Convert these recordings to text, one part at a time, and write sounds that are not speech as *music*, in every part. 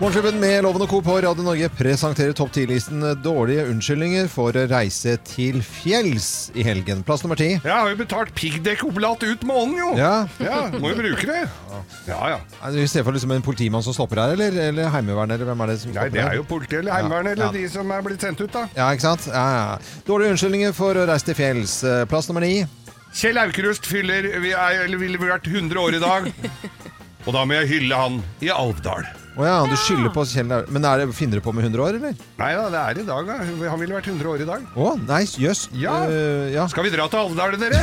Morgenklubben med Loven og Co. på Radio Norge presenterer topp 10-listen dårlige unnskyldninger for å reise til fjells i helgen. Plass nummer ti. Jeg har jo betalt piggdekkoblat ut måneden, jo! Ja. Må jo bruke det. Ja, ja. Er det I stedet for liksom en politimann som stopper her, eller, eller Heimevernet, eller hvem er det som Nei, stopper det er her? jo politiet eller Ja, Heimevernet eller de som er blitt sendt ut, da. Ja, ikke sant? Ja, ja. Dårlige unnskyldninger for å reise til fjells. Eh, Plass nummer ni. Kjell Aukrust fyller vi er, eller ville vært 100 år i *laughs* dag. Og da må jeg hylle han i Alvdal. Å ja, du skylder på Kjell Au- Men er det, finner du på med 100 år, eller? Nei da, det er i dag, da. Han ville vært 100 år i dag. Å, nei, jøss. Ja. Eh, ja. Skal vi dra til Alvdal, *laughs* dere?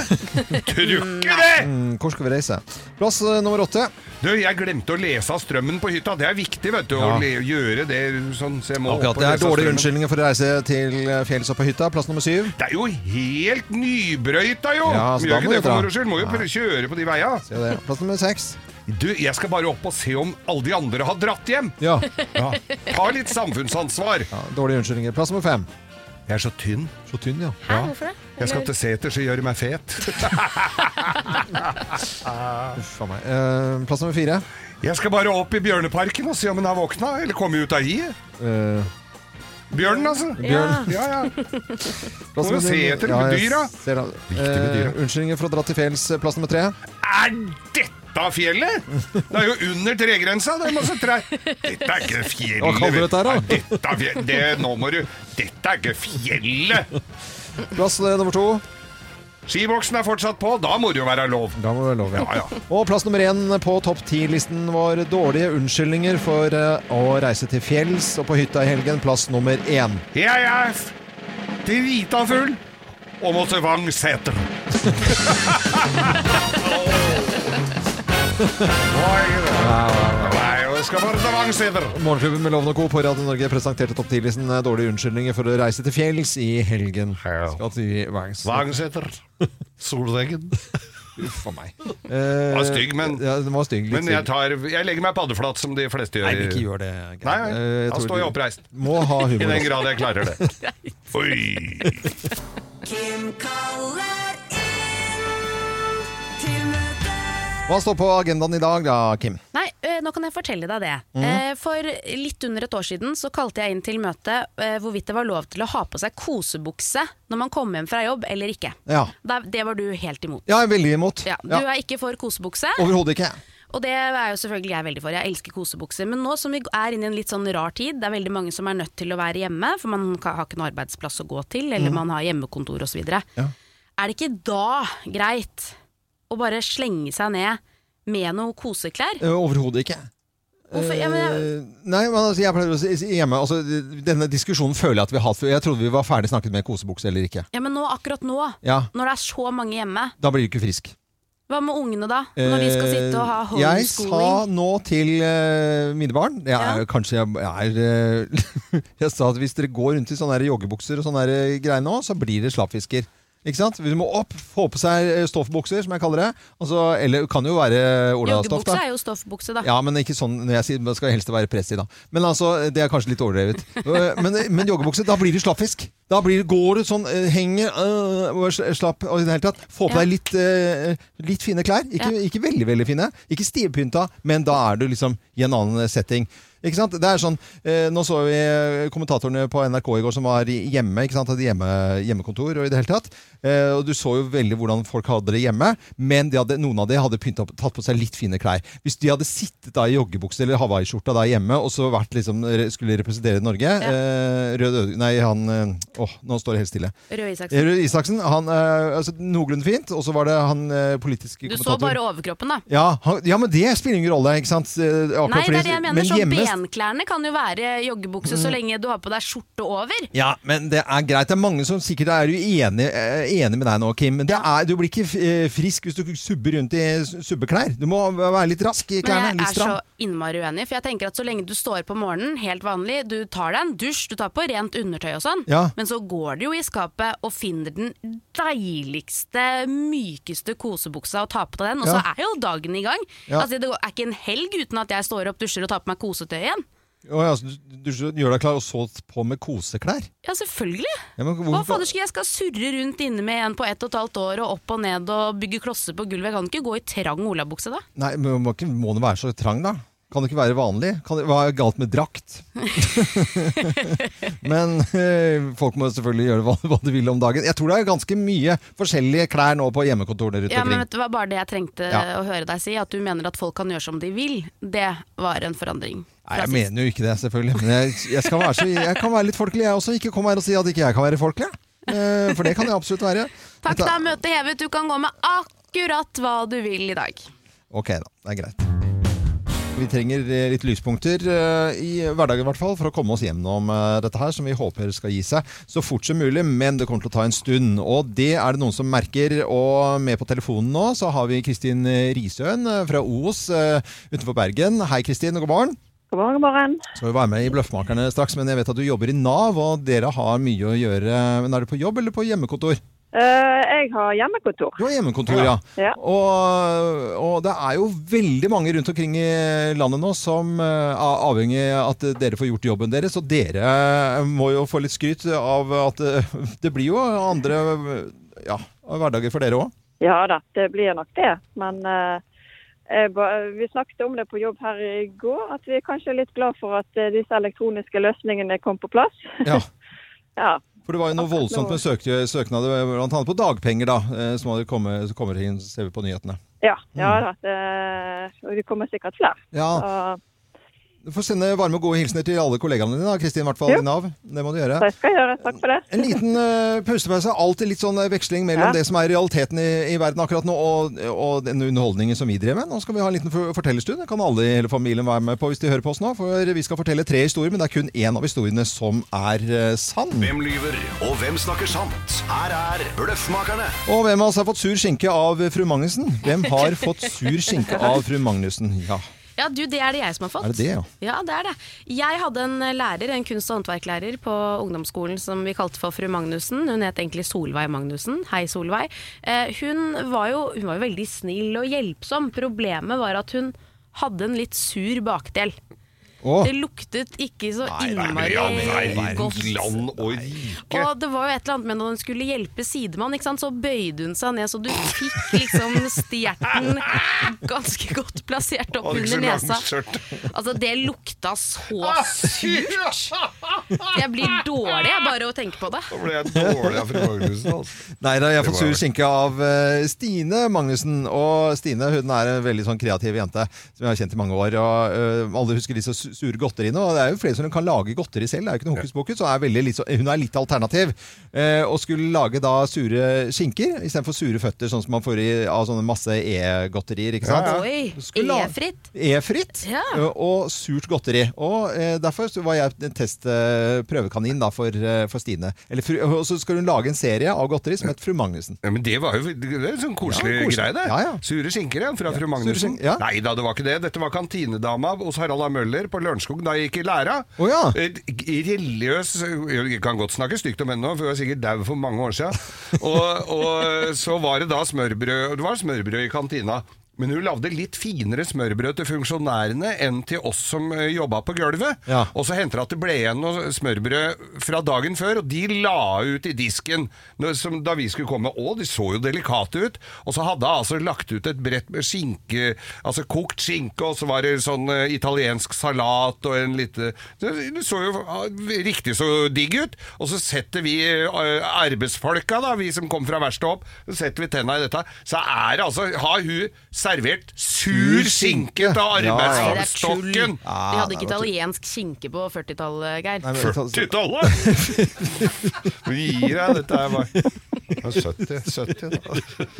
Trukker det! Mm, Hvor skal vi reise? Plass eh, nummer åtte. Du, jeg glemte å lese av strømmen på hytta. Det er viktig, vet du. Ja. Å le gjøre det sånn. Så jeg må Akkurat, opp og Det er lese av dårlige strømmen. unnskyldninger for å reise til eh, fjells og på hytta. Plass nummer syv. Det er jo helt nybrøyta, jo! Ja, så Vi da gjør må ikke det vi dra. for moro skyld. Må jo prøve å kjøre på de veia. Se det. Plass nummer seks. Du, jeg skal bare opp og se om alle de andre har dratt hjem. Ja. Ja. Ta litt samfunnsansvar. Ja, dårlige unnskyldninger. Plass nummer fem. Jeg er så tynn. Så tynn, ja. Hæ, hvorfor det? Jeg skal til seters og gjøre meg fet. Uff a meg. Eh, plass nummer fire. Jeg skal bare opp i Bjørneparken og se om den har våkna, eller kommet ut av hiet. Eh, Bjørnen, altså. Bjørn. Ja, ja. plass Må jo nummer- se etter med jeg dyra. ser det. Viktig med dyra. Eh, unnskyldninger for å dra til fjells. Plass nummer tre. Er dette fjellet? Det er jo under tregrensa. Det er masse trær. Dette er ikke fjellet. Hva kaller du dette her, da? Er dette fjellet? Det, nå må du Dette er ikke fjellet! Plass eh, nummer to. Skiboksen er fortsatt på. Da må det jo være lov. Da må vi være lov, Ja, ja. Og plass nummer én på topp ti-listen var dårlige unnskyldninger for eh, å reise til fjells og på hytta i helgen. Plass nummer én. Jeg er f- drita full og må til Vangseter. *laughs* Nei, jeg skal bare til Vangseter. Morgenklubben med Loven og Co. på Radio Norge presenterte topp 10-listen dårlige unnskyldninger for å reise til fjells i helgen. Ja. Skal til Vangs. Vangseter. Solveggen. Uff a meg. Var stygg, men- Eh, ja, den var stygg, litt Men jeg, stygg. tar, jeg legger meg paddeflat, som de fleste gjør. Nei, ikke gjør det. Geir. Nei, nei. Eh, Da tror står jeg du- oppreist. Må ha humor. altså. I den også. grad jeg klarer *laughs* det. Oi! Kim kaller inn til møte. Hva står på agendaen i dag da, Kim? *laughs* Nei, eh, nå kan jeg fortelle deg det. Eh, For litt under et år siden så kalte jeg inn til møte eh, hvorvidt det var lov til å ha på seg kosebukse når man kom hjem fra jobb eller ikke. Ja. Da- Det var du helt imot. Jeg er veldig imot. Ja, du Ja. er ikke for kosebukse, Overhodet ikke. og det er jo selvfølgelig jeg veldig for. Jeg elsker kosebukser. Men nå som vi er inne i en litt sånn rar tid, det er veldig mange som er nødt til å være hjemme, for man ka- har ikke noen arbeidsplass å gå til, eller man har hjemmekontor osv. videre Mhm. Ja. Er det ikke da greit å bare slenge seg ned med noe koseklær? Eh, Overhodet ikke. Hvorfor? Ja, men jeg, Eh, Nei, men altså, jeg pleier å si si hjemme altså, Denne diskusjonen føler jeg at vi har hatt før. Jeg trodde vi var ferdig snakket med kosebukse eller ikke. Ja, men nå, akkurat nå, Ja, når det er så mange hjemme, Da blir du ikke frisk. hva med ungene da? Når vi skal sitte og ha Eh, Jeg sa homeschooling? nå til eh, mine barn jeg er, Ja. Kanskje jeg er eh, *laughs* Jeg sa at hvis dere går rundt i sånne her joggebukser og sånne her eh, greier nå, så blir det slappfisker. Ikke sant? Vi må opp, få på seg eh, stoffbukser, som jeg kaller det. Og så- eller kan jo være olastoff, Joggebukse da. er jo stoffbukse, da. Ja, men ikke sånn når jeg sier man skal helst være press i, da. Men altså, det er kanskje litt overdrevet. Øh, Men, men joggebukse, da blir du slappfisk. Da blir, går du sånn, øh, henger øh, og er slapp og i det hele tatt. Få på Ja. deg litt, øh, litt fine klær. Ikke, ikke veldig, veldig fine. Ikke stivpynta, men da er du liksom i en annen setting. Ikke sant? Det er sånn, øh, Nå så vi kommentatorene på NRK i går som var i- hjemme. ikke sant? Hadde hjemme, hjemmekontor og i det hele tatt. Eh, og Du så jo veldig hvordan folk hadde det hjemme, men de hadde, noen av de hadde pynta opp, tatt på seg litt fine klær. Hvis de hadde sittet da i joggebukse eller hawaiiskjorta da hjemme og så vært liksom, re- skulle representere Norge eh, Rød Ød... Nei, han eh, Åh, nå står det helt stille. Røe Isaksen. Rød Isaksen. Han, eh, altså, noenlunde fint, og så var det han eh, politiske Du så bare overkroppen, da. ja, han, ja, men det spiller ingen rolle, ikke sant? Eh, akkurat Nei, det fordi- er det jeg men mener. Sånn hjemme- Mm. benklærne kan jo være joggebukse så lenge du har på deg skjorte over. Ja, men det er greit. Det er mange som sikkert er uenige eh, enige med deg nå, Kim. Men det er, du blir ikke eh, frisk hvis du subber rundt i s- subbeklær. Du må være litt rask i klærne. Men jeg Litt er så stram. innmari uenig, for jeg tenker at så lenge du står på morgenen, helt vanlig, du tar deg en dusj, du tar på rent undertøy og sånn, Ja. men så går du jo i skapet og finner den deiligste, mykeste kosebuksa og tar på deg den, og Ja. så er jo dagen i gang. Ja. Altså, det er ikke en helg uten at jeg står opp, dusjer og tar på meg kosetøy igjen. Å, ja, så du, du gjør deg klar, og så på med koseklær. Ja, selvfølgelig. Ja, men Hva hvorfor- fader skal jeg skal surre rundt inne med en på ett og et halvt år og opp og ned og bygge klosser på gulvet? Jeg kan ikke gå i trang olabukse da. Nei, men må, ikke- må den være så trang, da? Kan det ikke være vanlig? Kan det, hva er galt *laughs* med drakt? Men eh, folk må selvfølgelig gjøre hva, hva de vil om dagen. Jeg tror det er ganske mye forskjellige klær nå på hjemmekontorene rundt Ja, men omkring. vet du, Det var bare det jeg trengte Ja. å høre deg si, at du mener at folk kan gjøre som de vil. Det var en forandring. Nei, fra jeg sist. mener jo ikke det, selvfølgelig. Men jeg, jeg, skal være så, jeg kan være litt folkelig, jeg også. Ikke kom her og si at ikke jeg kan være folkelig. Eh, For det kan jeg absolutt være. Takk, Dette- da er møtet hevet. Du kan gå med akkurat hva du vil i dag. Ok da, det er greit. Vi trenger eh, litt lyspunkter eh, i hverdagen i hvert fall for å komme oss gjennom eh, dette her, som vi håper skal gi seg så fort som mulig, men det kommer til å ta en stund. Og det er det noen som merker. Og med på telefonen nå så har vi Kristin Risøen eh, fra Os eh, utenfor Bergen. Hei Kristin, god morgen. God morgen, god morgen. Skal jo være med i Bløffmakerne straks, men jeg vet at du jobber i Nav, og dere har mye å gjøre. Men er du på jobb eller på hjemmekontor? Eh, jeg har hjemmekontor. Du har hjemmekontor, ja. Ja. Og, og det er jo veldig mange rundt omkring i landet nå som eh, er avhengig av at dere får gjort jobben deres, og dere eh, må jo få litt skryt av at eh, det blir jo andre ja, hverdager for dere òg. Ja da, det blir nok det. Men eh, jeg ba, vi snakket om det på jobb her i går, at vi er kanskje litt glad for at eh, disse elektroniske løsningene kom på plass. *laughs* Ja. Ja, For det var jo noe Akkurat nå. voldsomt med søk søknader, bl.a. på dagpenger, da, eh, som hadde kommet, som kommer inn, ser vi på nyhetene. ja, ja da. Det, og det kommer sikkert flere. Ja, Så Du får sende varme og gode hilsener til alle kollegaene dine, da, Kristin, i hvert fall Jo. i Nav. Det må du gjøre. det skal jeg gjøre. Takk for En det. liten eh, pausepause. Alltid litt sånn eh, veksling mellom Ja. det som er realiteten i, i verden akkurat nå, og, og den underholdningen som vi driver med. Nå skal vi ha en liten for fortellerstund. Det kan alle i hele familien være med på hvis de hører på oss nå. For vi skal fortelle tre historier, men det er kun én av historiene som er eh, sann. Hvem lyver, og hvem snakker sant? Her er Bløffmakerne. Og hvem av oss har fått sur skinke av fru Magnussen? Hvem har fått sur skinke av fru Magnussen? Ja, Ja, du, det er det jeg som har fått. Er det det, ja? Ja, det er det. Jeg hadde en lærer, en kunst- og håndverklærer på ungdomsskolen som vi kalte for fru Magnussen. Hun het egentlig Solveig Magnussen. Hei, Solveig. Eh, hun, var jo, hun var jo veldig snill og hjelpsom. Problemet var at hun hadde en litt sur bakdel. Å, Det luktet ikke så Nei, innmari ja, nei, godt. land og rike. Og det var jo et eller annet med når hun skulle hjelpe sidemann, ikke sant? så bøyde hun seg ned, så du fikk liksom *laughs* stjerten ganske godt plassert opp Hadde under ikke så nesa. langt skjørt. Altså, det lukta så *laughs* surt. Jeg blir dårlig jeg bare å tenke på det. Da ble jeg dårlig av fru Magnussen, altså. Nei da, jeg har fått Det var sur skinke av eh, Stine Magnussen. Og Stine hun er en veldig sånn kreativ jente som jeg har kjent i mange år. Og eh, Alle husker disse su- sure godteriene, og det er jo flere som kan lage godteri selv. Det er jo ikke noe hokus pokus. Og er veldig litt, så- hun er litt alternativ. eh, og skulle lage da sure skinker istedenfor sure føtter, sånn som man får i, av sånne masse E-godterier. ikke sant? Oi, Skulle la- E-fritt. E-fritt Ja. ø, og surt godteri. Og eh, Derfor så var jeg en testprøvekanin da for, eh, for Stine. Eller, fru- og så skal hun lage en serie av godteri som het Fru Magnussen. Ja, men det var jo det er en sånn koselig, Ja, koselig. greie, det. Ja, ja. Sure skinker, ja, fra fru sure Magnussen. skinker, ja. Nei da, det var ikke det. Dette var kantinedama hos Harald A. Møller på Lørenskog da jeg gikk i læra. Eh, Å, ja. Et Religiøs Jeg kan godt snakke stygt om henne nå, for hun er sikkert dau for mange år *laughs* siden. Og, og så var det da smørbrød. og Det var smørbrød i kantina. Men hun lagde litt finere smørbrød til funksjonærene enn til oss som eh, jobba på gulvet. Ja. Og så hentet at det ble igjen noe smørbrød fra dagen før, og de la ut i disken når- som, da vi skulle komme. Å, de så jo delikate ut. Og så hadde jeg altså lagt ut et brett med skinke, altså kokt skinke, og så var det sånn eh, italiensk salat og en lite Det det så jo ah, riktig så digg ut. Og så setter vi eh, arbeidsfolka, da, vi som kom fra verkstedet opp, så setter vi tenna i dette. Så er det altså Har hun servert Sur sur skinke. skinke til Ja, Nei, ja. det er tull. arbeidsstokken? De hadde ikke det var italiensk skinke på 40-tallet, Geir. men- 40-tallet! *laughs* Vi gir deg dette her, bare. Ja, 70, *laughs*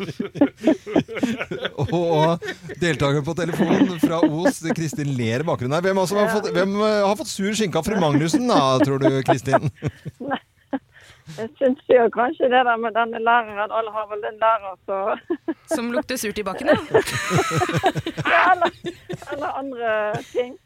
70 da. Og deltaker på telefonen fra Os, Kristin ler i bakgrunnen her. Hvem, altså har, fått, hvem eh, har fått sur skinke av fru Magnussen, da, tror du, Kristin? Jeg syns jo kanskje det der med denne læreren. Alle har vel en lærer, så *laughs* Som lukter surt i bakken, ja. ja, eller, eller andre ting.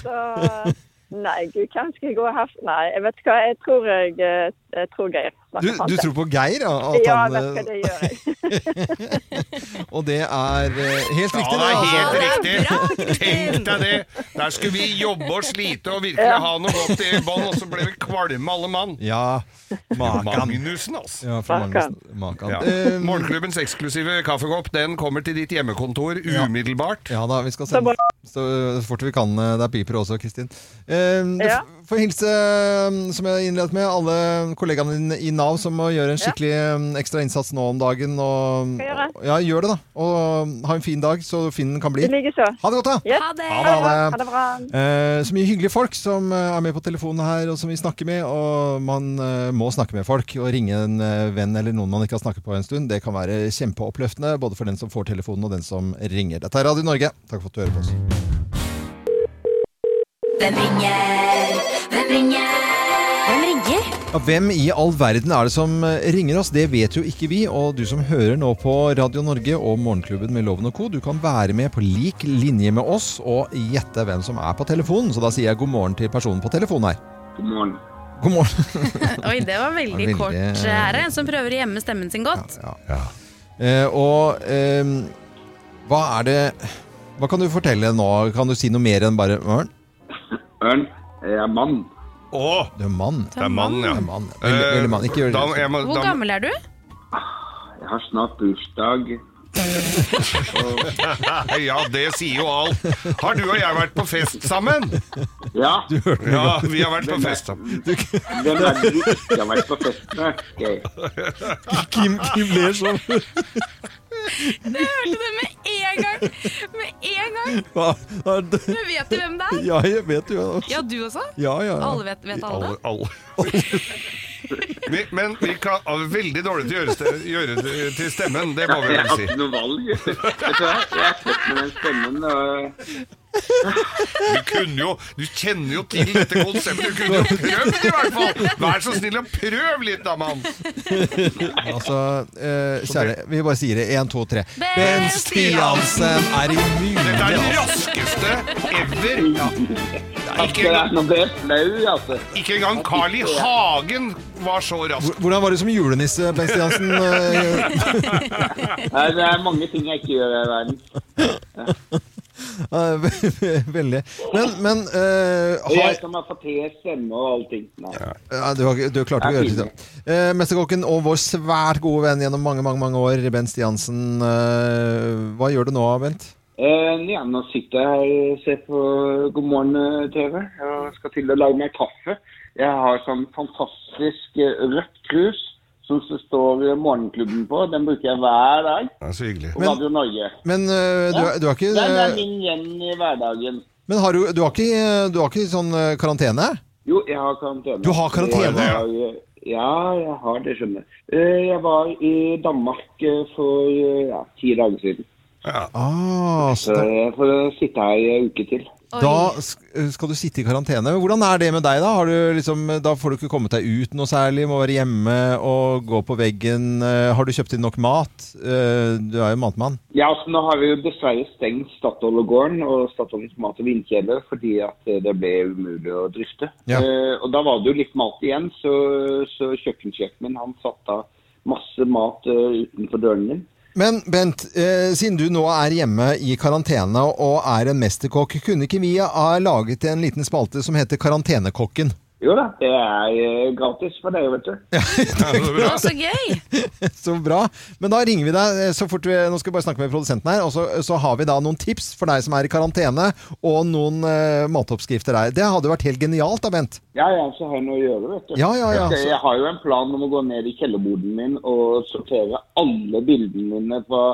Så Nei, gud, hvem skal jeg gå her? Nei, jeg vet hva, jeg tror jeg, eh, jeg tror Geir Du, snakker du sant. tror på Geir? ja, At Ja, han, vet eh, du hva, det gjør jeg. og det er eh, helt riktig, Ja, det er helt altså. riktig. Tenk deg det. Der skulle vi jobbe og slite og virkelig ha noe godt i bånn, og så ble vi kvalme alle mann. Ja, makan. Magnussen, altså. Ja, for Makan. Magnus, makan. Ja. Eh, Morgenklubbens eksklusive kaffekopp Den kommer til ditt hjemmekontor umiddelbart. Ja da, vi skal sende så fort vi kan. eh, Det er piper også, Kristin. Eh, du Ja. f- får hilse, eh, som jeg innledet med, alle kollegaene dine i Nav som må gjøre en skikkelig eh, ekstra innsats nå om dagen. Og, Skal jeg gjøre? ja, gjør det, da. Og ha en fin dag, så fin den kan I bli. like så. Ha det godt, da! Yes. Ha det! Ha det. Ha det bra. Eh, så mye hyggelige folk som eh, er med på telefonen her, og som vi snakker med. Og man eh, må snakke med folk, og ringe en eh, venn eller noen man ikke har snakket på en stund. Det kan være kjempeoppløftende, både for den som får telefonen, og den som ringer. Dette er Radio Norge. Takk for at du hører på oss. Hvem ringer? Hvem ringer? Hvem ringer? Ja, hvem i all verden er det som eh, ringer oss? Det vet jo ikke vi. Og du som hører nå på Radio Norge og Morgenklubben med Loven og Co., du kan være med på lik linje med oss og gjette hvem som er på telefonen. Så da sier jeg god morgen til personen på telefonen her. God morgen. Oi, det var veldig, Veldig- kort. Her er en som prøver å gjemme stemmen sin godt. God morgen. Ja. Eh, og ehm, hva er det Hva kan du fortelle nå? Kan du si noe mer enn bare Ørn? Ørn, jeg er mann. Å, Du er mann. det er mannen, Du ja. Eh, er mann. Veldig, veldig mann. Ikke gjør Da, det. jeg må, Hvor da, gammel er du? Jeg har snart bursdag. Nei, ja, det sier jo alt. Har du og jeg vært på fest sammen? *laughs* Ja, Ja, vi har vært på fest sammen. hvem er det du ikke har vært på fest med? Geir? Kim, Kim ler sånn. Det hørte du med en gang! Med en gang! Hva er det? Du vet jo hvem det er. Ja, jeg vet jo. Ja, du også? Ja, ja, ja. Alle vet, vet alle? Alle, alle. *laughs* Vi, men vi kan er veldig dårlig til å gjøre, ste, gjøre det til stemmen, det må vi Jeg vel har si. ikke noe valg. Vet du hva, jeg er født med den stemmen. Og... eh, Du kunne jo, du kjenner jo til dette konseptet, du kunne jo prøvd i hvert fall! Vær så snill og prøv litt da, mann! Altså, eh, kjære, vi bare sier det. Én, to, tre. Bent Bent Stiansen er immun! Dette er den raskeste ever! Altså, Ikke, nå ble jeg flau, altså. ikke engang Carl I. Hagen var så rask. Hvordan var du som julenisse, Bent Stiansen? Eh, Nei, Det er mange ting jeg ikke gjør i verden. eh, *laughs* ve- ve- Veldig. Men, men eh, Og jeg har, som har fått til stemme og allting. Nei. eh, du, har, du klarte ikke å gjøre det. Eh, Mesterkokken og vår svært gode venn gjennom mange mange, mange år, Bent Stiansen. eh, hva gjør du nå, Bent? Eh, ja, nå sitter jeg her og ser på God morgen eh, TV og skal til å lage meg kaffe. Jeg har sånn fantastisk eh, rødt krus som det står eh, Morgenklubben på. Den bruker jeg hver dag Det er så hyggelig. på Radio Norge. Men eh, du, er- du har ikke, Den er eh, min venn i hverdagen. men har du, du, har ikke eh, du har ikke sånn eh, karantene? Jo, jeg har karantene. Du har karantene? Jeg har- Ja, jeg har det, skjønner du. Eh, Jeg var i Danmark eh, for eh, ja, ti dager siden. Ah, Så så jeg får sitte her i en uke til. Oi. Da sk- eh, skal du sitte i karantene. Hvordan er det med deg, da? Har du liksom, da får du ikke kommet deg ut noe særlig, må være hjemme og gå på veggen. Eh, Har du kjøpt inn nok mat? Eh, Du er jo matmann. Ja, altså Nå har vi jo dessverre stengt Statoil og gården og Statoils mat- og vinkjede fordi at eh, det ble umulig å drifte. Ja. Eh, og da var det jo litt mat igjen, så, så kjøkkensjefen min han satte av masse mat eh, utenfor døren min. Men Bent, eh, siden du nå er hjemme i karantene og er en mesterkokk, kunne ikke vi ha laget en liten spalte som heter Karantenekokken? *laughs* Jo da, det er eh, gratis for dere, vet du. Å, så gøy! Så bra. Men da ringer vi deg eh, så fort vi Nå skal jeg bare snakke med produsenten her. Og så, så har vi da noen tips for deg som er i karantene, og noen eh, matoppskrifter der. Det hadde vært helt genialt da, Bent. Ja ja, så har jeg noe å gjøre, vet du. Ja, ja, ja. Jeg, jeg har jo en plan om å gå ned i kjellerboden min og sortere alle bildene mine fra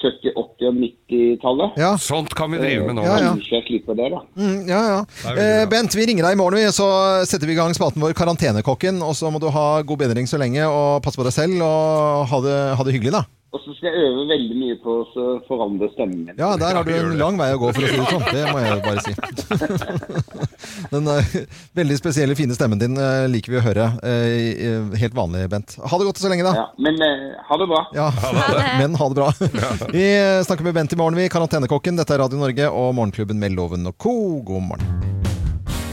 70-, 80- og 90-tallet. Ja. Sånt kan vi drive med nå. Ja, ja. Kanskje jeg slipper det, da. Mm, ja, ja. Eh, Bent, vi ringer deg i morgen, vi, så setter vi i gang spalten vår Karantenekokken. Og så må du ha god bedring så lenge, og passe på deg selv, og ha det, ha det hyggelig, da. Og så skal jeg øve veldig mye på å så forandre stemmen min. Ja, der har du Ja, gjør en det. lang vei å gå, for å si det sånn. Det må jeg bare si. *laughs* Den eh, veldig spesielle, fine stemmen din eh, liker vi å høre. Eh, eh, helt vanlig, Bent. Ha det godt så lenge, da. Ja, men eh, ha det bra. Ja, men ha det bra. *laughs* Vi snakker med Bent i morgen, vi. Karantenekokken. Dette er Radio Norge og Morgenklubben med Loven og co. God morgen.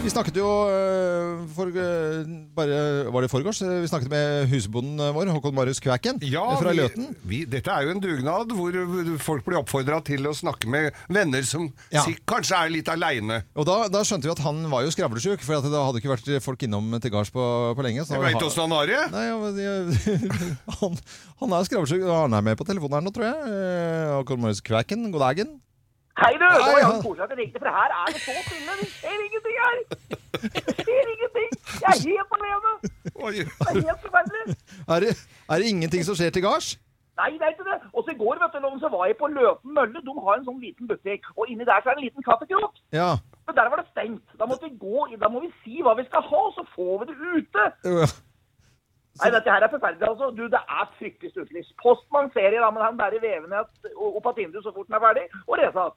Vi snakket jo øh, for, øh, bare, Var det i forgårs? Øh, Vi snakket med husbonden eh, vår, Håkon Marius Kvæken øh, fra vi- Løten. Vi, dette er jo en dugnad hvor øh, folk blir oppfordra til å snakke med venner som Ja. sik- kanskje er litt aleine. Og da, da skjønte vi at han var jo skravlesjuk, for at det hadde ikke vært folk innom til gards på, på lenge. så Jeg han- veit åssen han har det. Nei, ja, men jeg, *laughs* han, han er skravlesjuk. og Han er med på telefonen her nå, tror jeg. Eh, Håkon Marius Kvæken, god dagen. Hei du, det var Hei, jævlig ja. koselig at jeg ringte, for her er det så stille. Det skjer ingenting her. Det skjer ingenting. Jeg er helt alene. Oi. Det er helt forferdelig. Er det, er det ingenting som skjer til gards? Nei, det er ikke det. Og så i går, vet du, Loven, så var jeg på Løten Mølle. De har en sånn liten butikk. Og inni der så er det en liten kaffekrok. Ja. Men der var det stengt. Da måtte vi gå inn. Da må vi si hva vi skal ha, så får vi det ute. Nei, dette her er forferdelig, altså. Du, det er fryktelig stutlys. Postmann ser jeg, da, men han bærer veven ned opp av vinduet så fort han er ferdig, og reiser av.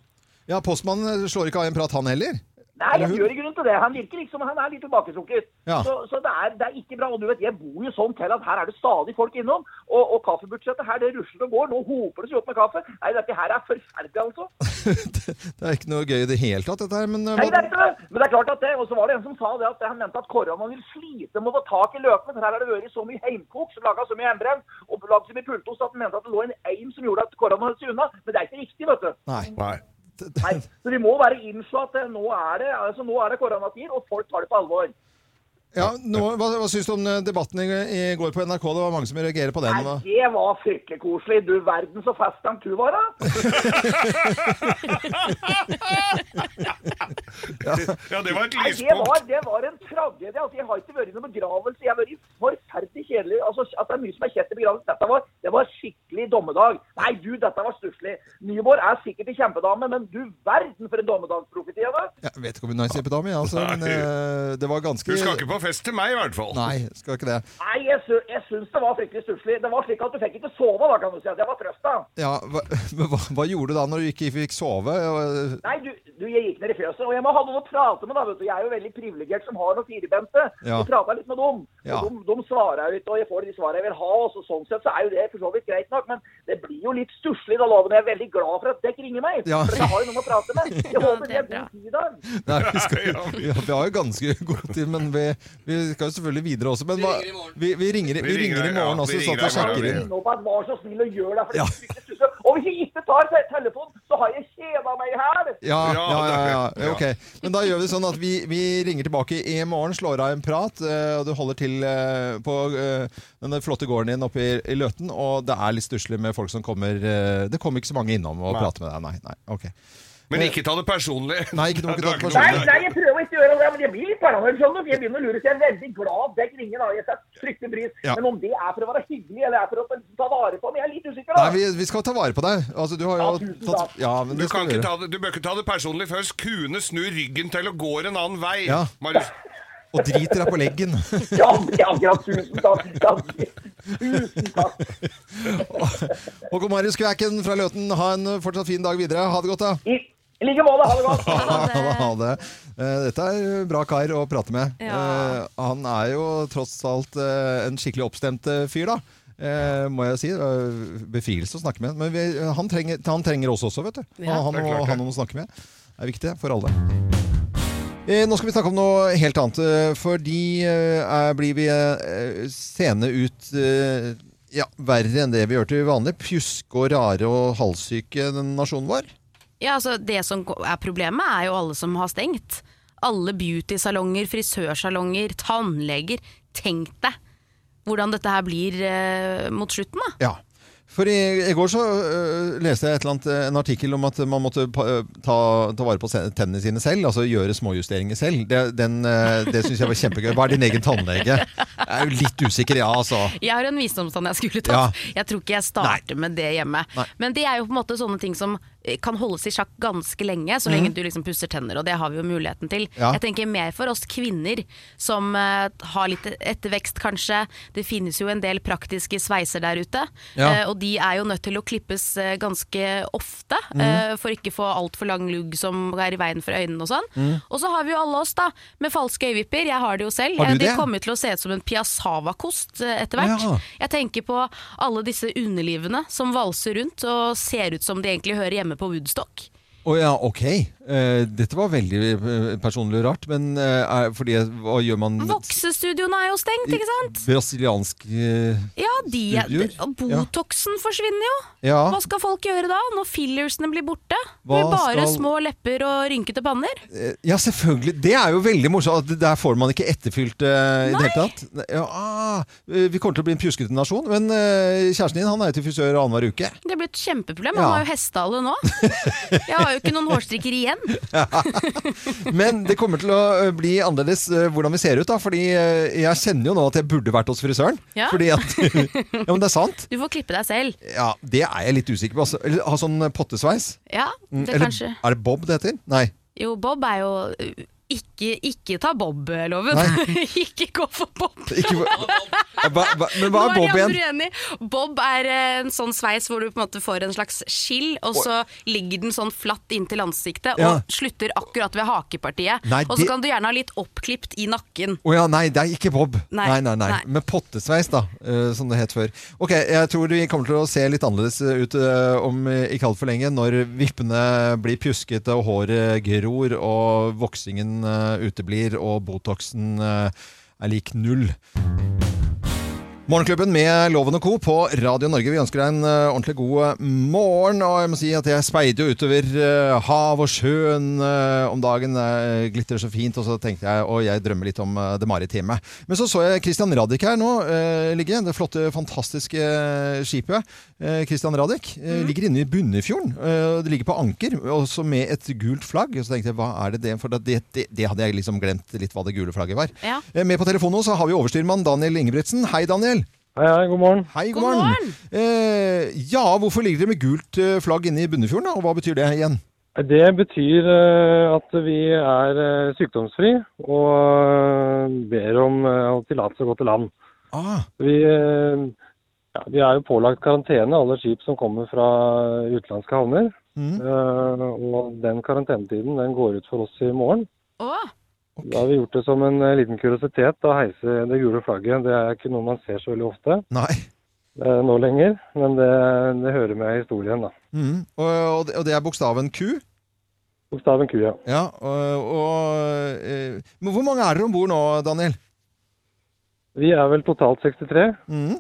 ja, postmannen slår ikke av en prat, han heller. *laughs* Nei, Eller han hun? gjør i grunnen til det. Han virker ikke som han er litt tilbaketrukket. Ja. Så, så det, er, det er ikke bra. Og du vet, jeg bor jo sånn til at her er det stadig folk innom. Og, og kaffebudsjettet her, det rusler og går. Nå hoper det seg opp med kaffe. Nei, dette her er forferdelig, altså. det, det er ikke noe gøy i det hele tatt, dette her. Men, eh, Nei, det hva- er ikke det. Men det er klart at det. Og så var det en som sa det at han mente at koronaen vil slite med å få tak i løkene. For her har det vært så mye heimkok som laga så mye hjemmebrent og laga så mye pultost at han mente at det lå en eim som gjorde at koronaen holdt seg unna. Men det er ikke riktig, vet du. nei. Nei. *laughs* *laughs* Nei. Så vi må være innse at eh, nå er det, altså, nå er det koronatider, og folk tar det på alvor. Ja, nå, hva, hva syns du om eh, debatten i, i går på NRK? Det var mange som reagerer på den. Nei, og- det var fryktelig koselig. Du verden så fast den du var, da. Ja, det var et Nei, det lyspunkt. var, det var en tragedie. Altså, jeg har ikke vært i noen begravelse. Jeg har vært i forferdelig kjedelig. Altså, at det er mye som er kjett i begravelse. Dette var, det var skikkelig dommedag. Nei, du, dette var stusslig. Nyborg er sikkert en kjempedame, men du verden for en dommedagsprofeti av det. Jeg vet ikke om hun er en kjempedame, jeg, altså, men eh, det var ganske Du skal ikke på fest til meg, i hvert fall. Nei, skal ikke det. Nei, jeg, sy jeg syns det var fryktelig stusslig. Det var slik at du fikk ikke sove, da, kan du si. at Det var trøsta. Ja, hva, men hva, hva gjorde du da når du ikke fikk sove? Og- Nei, du, du, jeg gikk ned i fjøset, og jeg må ha noen å prate med, da, vet du. Jeg er jo veldig privilegert som har noen firebente. Ja. Så prata litt med dem. Ja. Og de, de svarer ut, og jeg får de svarene jeg vil ha. Og så, sånn sett så er jo det for så vidt greit nok, men det blir jo litt stusslig da, Loven. Jeg er veldig glad for at dere ringer meg. Ja. For jeg har jo noen å prate med. *laughs* Jeg håper det det er er bra. god tid i dag. Nei, *laughs* vi, skal, Ja, ja. ja, vi har jo ganske god tid, men vi, vi skal jo selvfølgelig videre også. Men hva, vi, vi, ringer, i- vi ringer i morgen ja, også, vi sånn at vi ringer i morgen, sjekker vi. inn. Ring opp at vær så snill og gjør det, for det Ja. er fryktelig stusslig. Og hvis jeg ikke tar te- telefonen, så har jeg kjeda meg her. Ja, Ja, ja, ja, *laughs* ja, det er det. ok. Men da gjør vi sånn at vi, vi ringer tilbake i morgen, slår av en prat, eh, og du holder til eh, på eh, denne flotte gården din oppe i, i Løten, og det er litt stusslig med folk som kommer eh, Det kommer ikke så mange innom og Nei. prater med deg. Nei, nei, ok. Men ikke ta det personlig. Nei, ikke noe- Du har ikke noe Nei, personlig. nei, jeg prøver ikke å gjøre det, men jeg blir litt paranoid, skjønner du. for Jeg begynner å lure, så jeg er veldig glad at dere ringer. da, Jeg setter fryktelig pris. Ja. Men om det er for å være hyggelig, eller er for å ta vare på meg, jeg er litt usikker. da. Nei, vi, vi skal ta vare på deg. Altså, du har Ja, jo tusen tatt takk. Ja, men Du, det kan skal du ikke gjøre. ta det, du bør ikke ta det personlig først. Kuene snur ryggen til og går en annen vei. Ja. Marius. Og driter deg på leggen. *laughs* Ja, det er akkurat. Tusen takk. Ja, Tusen takk. Håkon Marius Kvæken fra Løten, ha en fortsatt fin dag videre. Ha det godt, da. I i like måte. Ha det godt. *laughs* Ha Ha det. det. Eh, Dette er bra kar å prate med. Ja. Eh, Han er jo tross alt eh, en skikkelig oppstemt eh, fyr, da. Eh, må jeg si. Eh, Befrielse å snakke med. Men vi, han, trenger, han trenger oss også, vet du. Han, Ja. han, Det er må- klart det. han må snakke med. Det er viktig for alle. Eh, Nå skal vi snakke om noe helt annet, eh, fordi eh, er, blir vi eh, sene ut eh, ja, verre enn det vi gjør til vanlig. Pjuske og rare og halssyke den nasjonen vår. Ja, altså Det som er problemet, er jo alle som har stengt. Alle beautysalonger, frisørsalonger, tannleger. Tenk deg hvordan dette her blir eh, mot slutten, da. Ja. For i, i går så øh, leste jeg et eller annet, øh, en artikkel om at man måtte pa- øh, ta, ta vare på se- tennene sine selv. Altså gjøre småjusteringer selv. Det, den, øh, det syns jeg var kjempegøy. Hva er din egen tannlege? Jeg er jo litt usikker, ja, altså. Jeg har en visdomstann jeg skulle tatt. Jeg tror ikke jeg starter med det hjemme. Nei. Men det er jo på en måte sånne ting som eh, kan holdes i sjakk ganske lenge, så lenge du liksom pusser tenner, og det har vi jo muligheten til. Mhm. Ja. Jeg tenker mer for oss kvinner som eh, har litt ettervekst, kanskje. Det finnes jo en del praktiske sveiser der ute, Ja. eh, og de er jo nødt til å klippes eh, ganske ofte, Mhm. eh, for ikke å få altfor lang lugg som er i veien for øynene og sånn. Mhm. Og så har vi jo alle oss, da, med falske øyevipper. Jeg har det jo selv. Har du Eh, de det? kommer jo til å se ut som en piassavakost eh, etter hvert. Ja. Jeg tenker på alle disse underlivene som valser rundt og ser ut som de egentlig hører hjemme på Woodstock. Å ja, ok. Eh, dette var veldig eh, personlig rart, men eh, er, fordi Hva gjør man med Voksestudioene er jo stengt, ikke sant? brasiliansk eh, Ja, de er, Studioer? og Botoxen forsvinner jo. Ja. Hva skal folk gjøre da, når fillersene blir borte? Det Ah. Hva blir bare skal- små lepper og rynkete panner. Eh, Ja, selvfølgelig. Det er jo veldig morsomt. at Der får man ikke etterfylt eh, i det hele tatt. Ne- Ja, ah, eh, vi kommer til å bli en pjuskete nasjon, men eh, kjæresten din han er jo til frisør annenhver uke. Det blir et kjempeproblem. Ja. Han har jo hestehale *laughs* nå. Jeg har jo ikke noen hårstrikker igjen. Men det kommer til å eh, bli annerledes eh, hvordan vi ser ut, da. Fordi eh, jeg kjenner jo nå at jeg burde vært hos frisøren. Ja. Fordi *laughs* at Ja, men det er sant. Du får klippe deg selv. Ja, Det er jeg litt usikker på. Altså. Eller ha sånn eh, pottesveis. Mm, Ja, det Eller kanskje. er det Bob det heter? Nei. *laughs* Jo, Bob er jo eh, ikke, ikke ta Bob-loven. *laughs* ikke gå for Bob. Ikke, *laughs* hva, hva, men hva Nå er Bob de igjen? andre uenige. Bob er eh, en sånn sveis hvor du på en måte får en slags skill, og så ligger den sånn flatt inntil ansiktet og Ja. slutter akkurat ved hakepartiet. Nei, og det- så kan du gjerne ha litt oppklipt i nakken. Å ja, nei, det er ikke Bob. Nei, Nei, nei, nei. nei. Men pottesveis, da, eh, som det het før. Ok, jeg tror vi kommer til å se litt annerledes ut eh, om eh, ikke altfor lenge, når vippene blir pjuskete og håret gror og voksingen eh, uteblir og Botoxen eh, er lik null. Morgenklubben med Loven og Co. på Radio Norge. Vi ønsker deg en eh, ordentlig god morgen. Og jeg må si at jeg speider jo utover eh, hav og sjøen eh, om dagen. Uh, glitter så fint. Og så tenkte jeg, og jeg drømmer litt om eh, det maritime. Men så så jeg Christian Radich her nå eh, ligge. Det flotte, fantastiske eh, skipet. eh, Christian Radich eh, ligger inne i Bunnefjorden. eh, det ligger på anker, også med et gult flagg. Og så tenkte jeg, hva er det det? For det, det, det hadde jeg liksom glemt litt hva det gule flagget var. Ja. Eh, Med på telefonen nå så har vi overstyrmann Daniel Ingebrigtsen. Hei, Daniel. Hei, hei, god morgen. Hei, God god, morgen. Eh, ja, hvorfor ligger dere med gult eh, flagg inne i Bunnefjorden, da? og hva betyr det igjen? Det betyr eh, at vi er eh, sykdomsfri og eh, ber om eh, å tillatelse å gå til land. Ah, Vi, eh, ja, vi er jo pålagt karantene, alle skip som kommer fra utenlandske havner. Mhm. Eh, Og den karantenetiden den går ut for oss i morgen. Å, Da har vi gjort det som en eh, liten kuriositet å heise det gule flagget. Det er ikke noe man ser så veldig ofte nei. eh, nå lenger, men det, det hører med i historien, da. Mhm. Og, og, det, og det er bokstaven Q. Bokstaven Q, ja. Ja, og, og eh, Men hvor mange er dere om bord nå, Daniel? Vi er vel totalt 63. Mhm.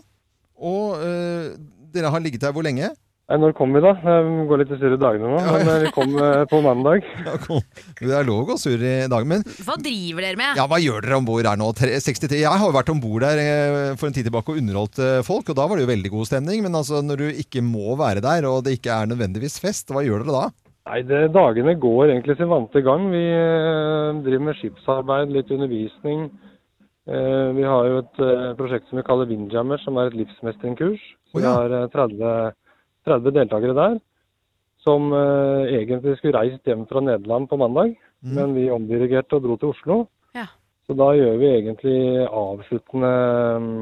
Og eh, dere har ligget her hvor lenge? Nei, Når kom vi, da? Det går litt i surre dagene nå. Men eh, vi kom eh, på mandag. Ja, kom. Det er lov å gå sur i dag, men hva driver dere med? ja, hva gjør dere om bord her nå? Tre- 63. Jeg har jo vært om bord der eh, for en tid tilbake og underholdt eh, folk, og da var det jo veldig god stemning. Men altså, når du ikke må være der, og det ikke er nødvendigvis fest, hva gjør dere da? Nei, det, Dagene går egentlig sin vante gang. Vi eh, driver med skipsarbeid, litt undervisning. Eh, vi har jo et eh, prosjekt som vi kaller Windjammer, som er et livsmestringskurs. Så Å, ja. Vi har eh, 30, 30 deltakere der, som eh, egentlig skulle reist hjem fra Nederland på mandag. Mm. Men vi omdirigerte og dro til Oslo. Ja. Så da gjør vi egentlig avsluttende mm,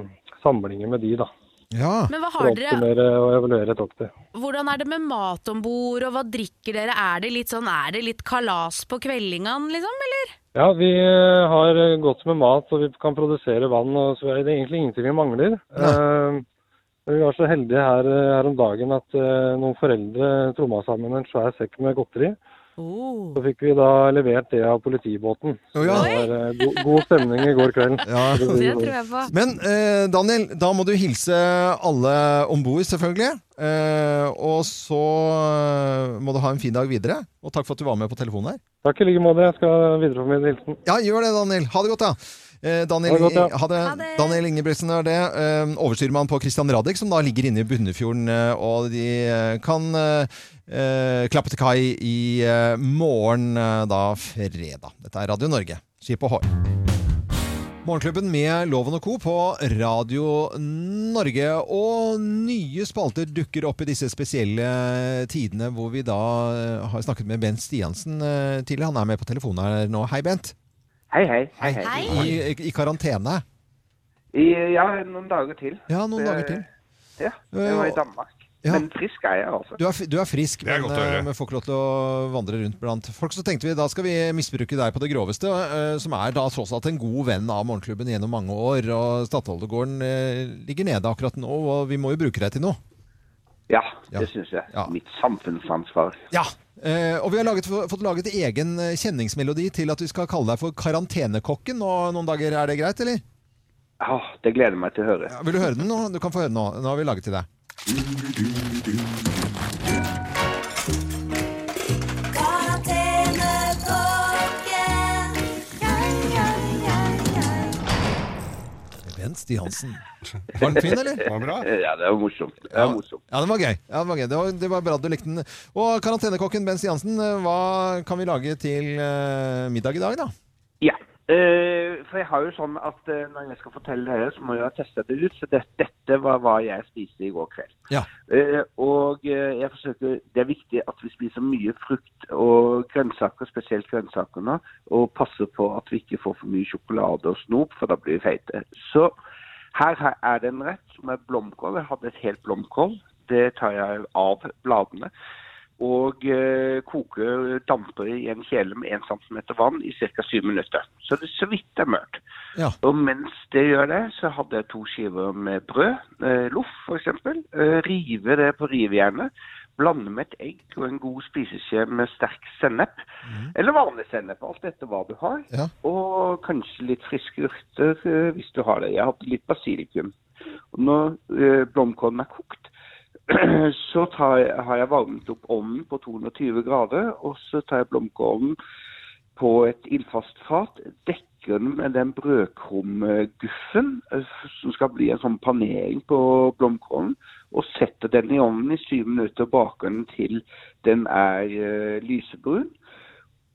samlinger med de, da. Ja. Men hva For å har dere oppsummere og evaluere toktet. Hvordan er det med mat om bord, og hva drikker dere? Er det litt sånn, er det litt kalas på kvellingene, liksom, eller? Ja, vi eh, har eh, godt med mat, og vi kan produsere vann, og så er det egentlig ingenting vi mangler. Eh, men vi var så heldige her, eh, her om dagen at eh, noen foreldre tromma sammen en svær sekk med godteri. Oh. Så fikk vi da levert det av politibåten. Å, ja. Det var eh, god, god stemning i går kveld. Ja. Det tror jeg på. Men eh, Daniel, da må du hilse alle om bord, selvfølgelig. Eh, og så eh, må du ha en fin dag videre. Og takk for at du var med på telefonen her. Takk i like måte. Jeg skal videreformidle hilsen. Ja, gjør det, Daniel. Ha det godt, da. Eh, Daniel, Ha det godt, ja. ha det. Ha det. Daniel Ingebrigtsen er det. Eh, Overstyrmann på Christian Radich, som da ligger inne i Bunnefjorden. eh, Og de eh, kan eh, eh, klappe til kai i eh, morgen, eh, da fredag. Dette er Radio Norge. Skip ohoi. Morgenklubben med Loven og Co. på Radio Norge. Og nye spalter dukker opp i disse spesielle tidene hvor vi da eh, har snakket med Bent Stiansen eh, tidligere. Han er med på telefonen her nå. Hei, Bent. Hei, hei. Hei. Hei. I, i karantene. I, ja, noen dager til. Ja, noen Det- dager til. Ja, jeg var i Danmark. Ja. Men frisk er jeg, altså. Du er, f- du er frisk, Det er men, godt å høre. eh, men får ikke lov til å vandre rundt blant folk. Så tenkte vi da skal vi misbruke deg på det groveste, eh, som er da tross alt en god venn av Morgenklubben gjennom mange år. Og Stadholdegården eh, ligger nede akkurat nå, og vi må jo bruke deg til noe. Ja, Ja. det syns jeg. Ja. Mitt samfunnsansvar. Ja, Eh, og vi har laget, fått laget egen eh, kjenningsmelodi til at vi skal kalle deg for Karantenekokken. Og noen dager er det greit, eller? Ja, det gleder jeg meg til å høre. Ja, Vil du høre den nå? Du kan få høre den nå. Den har vi laget til deg. Karantenekokken. Ja, ja, ja, ja. Bent Stig Hansen. Var den fin, eller? Var det bra? Eh, Ja, det var morsomt. Det var morsomt. Ja, den var gøy. Ja, den var gøy. Det, var, det var bra at du likte den. Og karantenekokken Bent Stig Hansen, eh, hva kan vi lage til eh, middag i dag, da? Ja. eh, for jeg har jo sånn at eh, når jeg skal fortelle dere, så må jeg ha testet det ut. Så det, dette var hva jeg spiste i går kveld. Ja. Eh, og eh, jeg forsøker, det er viktig at vi spiser mye frukt og grønnsaker, spesielt grønnsaker nå, og passer på at vi ikke får for mye sjokolade og snop, for da blir vi feite. Så her, her er det en rett som er blomkål. Jeg hadde et helt blomkål. Det tar jeg av bladene. Og eh, koker damper i en kjele med 1 cm vann i ca. 7 minutter. Så det så vidt er mørkt. Ja. Og mens det gjør det, så hadde jeg to skiver med brød, eh, loff f.eks. Eh, rive det på rivejernet. Blande med et egg og en god spiseskje med sterk sennep. Eller vanlig sennep, alt etter hva du har. Ja. Og kanskje litt friske urter eh, hvis du har det. Jeg hadde litt basilikum. Og når eh, blomkålen er kokt, *clears throat* så tar jeg, har jeg varmet opp ovnen på 220 grader, og så tar jeg blomkålen på et ildfast fat, dekker den med den brødkrumguffen eh, som skal bli en sånn panering på blomkålen, og setter den i ovnen i syv minutter og baker den til den er eh, lysebrun.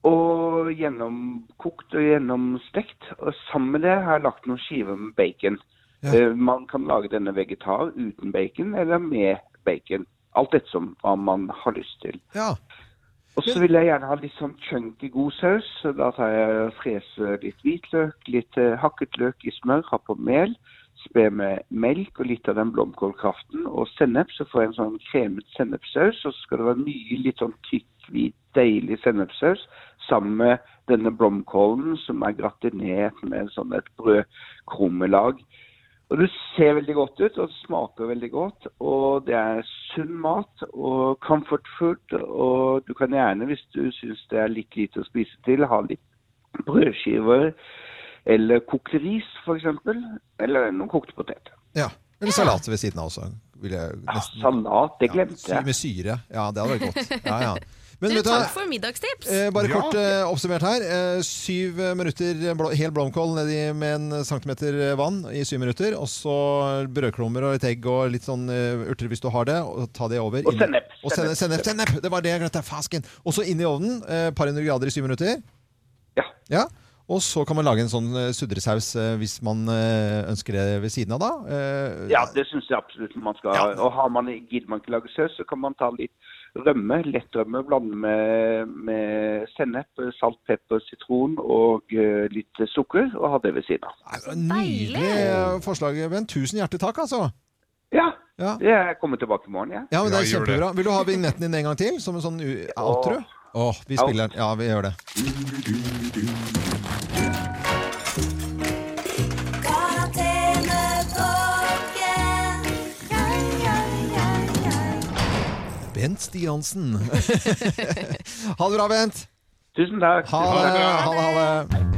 Og gjennomkokt og gjennomstekt. Og sammen med det har jeg lagt noen skiver med bacon. Ja. Eh, Man kan lage denne vegetar uten bacon eller med bacon. Alt ettersom hva man har lyst til. ja. Og så vil jeg gjerne ha litt sånn chunky god saus. så Da tar jeg frese litt hvitløk, litt eh, hakket løk i smør, ha på mel. Spe med melk og litt av den blomkålkraften og sennep. Så får jeg en sånn kremet sennepssaus. Og så skal det være mye litt sånn tykk, hvit, deilig sennepssaus sammen med denne blomkålen som er gratinert med sånn et brødkrummelag. Og det ser veldig godt ut, og det smaker veldig godt. Og det er sunn mat og comfort food. Og du kan gjerne, hvis du syns det er litt lite å spise til, ha litt brødskiver eller kokt ris f.eks. Eller noen kokte poteter. ja. Eller salat ved siden av også. Vil jeg Ja, nesten- salat, det Ja, glemte sy- jeg. Med syre. Ja, det hadde vært godt. Ja, *laughs* ja. Men Du, vet du hva? takk for middagstips! Eh, bare Ja. kort eh, oppsummert her. Eh, syv eh, minutter blå, hel blomkål nedi med en centimeter eh, vann i syv minutter. Og så brødklummer og litt egg og litt sånn eh, urter hvis du har det. Og ta det over. Og inn- sennep. Og sennep, sennep, sennep. Det var det jeg glemte. Fasken. Og så inn i ovnen. Eh, par hundre grader i syv minutter. Ja. Ja. Og så kan man lage en sånn eh, sudresaus eh, hvis man eh, ønsker det ved siden av, da. Eh, Ja, det syns jeg absolutt man skal. Ja. Og har man, gidder man ikke lage saus, så kan man ta litt rømme, lettrømme, blande med, med sennep, salt, pepper, sitron og eh, litt sukker, og ha det ved siden av. Nei, det var Nydelig eh, forslag, Bent. Tusen hjertelig takk, altså. Ja, Ja. jeg kommer tilbake i morgen, jeg. Ja, men det er Ja, gjør det. kjempebra. Vil du ha vignetten din en gang til, som en sånn u- outro? Åh. Åh, vi spiller den. Ja, vi gjør det. Karantenekokken. Ja, ja, ja, ja. Bent Stig *laughs* Hansen. ha det bra, Bent. Tusen takk. Ha Tusen det, takk. ha det, ha det.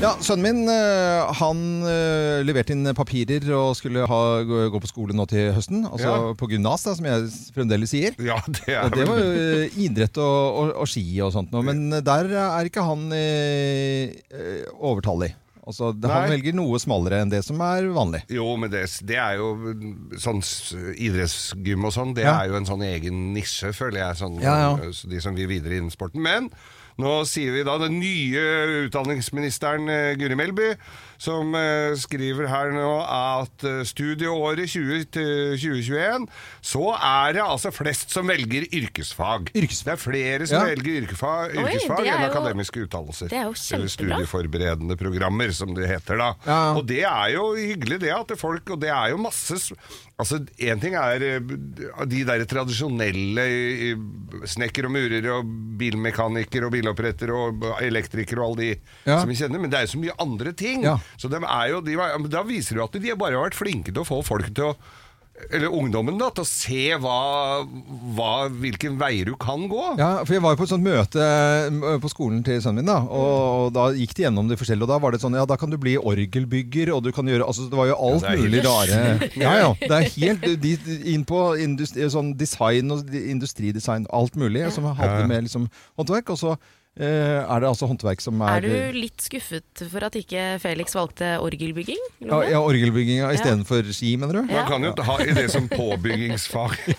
Ja, sønnen min eh, han eh, leverte inn papirer og skulle ha, gå gå på skole nå til høsten. Altså Ja. på gymnas, da, som jeg fremdeles sier. Ja, det Og er det var vel jo eh, idrett og, og, og ski og sånt noe, men der er ikke han eh, eh, overtallig. Altså, han Nei. velger noe smalere enn det som er vanlig. jo, men det, det er jo sånn s- idrettsgym og sånn, det Ja. er jo en sånn egen nisje, føler jeg, sånn, Ja, ja. eh, de som vil videre innen sporten. Men nå sier vi da den nye utdanningsministeren eh, Guri Melby, som eh, skriver her nå at eh, studieåret 20 til 2021, så er det altså flest som velger yrkesfag. Yrkesfag. Det er flere som Ja. velger yrkesfag, Oi, det yrkesfag er enn jo- akademiske utdannelser. Det er jo Eller kjempebra. studieforberedende programmer, som det heter da. Ja. Og det er jo hyggelig det at folk, og det er jo masse s- Altså, en ting er eh, de der tradisjonelle eh, snekker og murer og bilmekaniker og biloppretter og elektriker og alle de Ja. som vi kjenner, men det er jo så mye andre ting. Ja. Så dem er jo, de, var- da viser det jo at de bare har vært flinke til å få folk til å eller ungdommen da, til å se hva, hva, hvilke veier du kan gå. Ja, for jeg var jo på et sånt møte eh, på skolen til sønnen min, da, og, Mm. og da gikk de gjennom det forskjellige, og da var det sånn, ja, da kan du bli orgelbygger, og du kan gjøre, altså det var jo alt Ja, det er mulig helt rare. sjukt. Ja, ja, det er helt de, de- inn på industri, sånn design og de- industridesign, alt mulig, som Ja, ja. hadde med liksom håndverk, og så eh, er det altså håndverk som Er er... du litt skuffet for at ikke Felix valgte orgelbygging? ja, Lone? ja, orgelbygging ja, i stedet for ski, mener du? Man kan jo ha i det som påbyggingsfag. *laughs*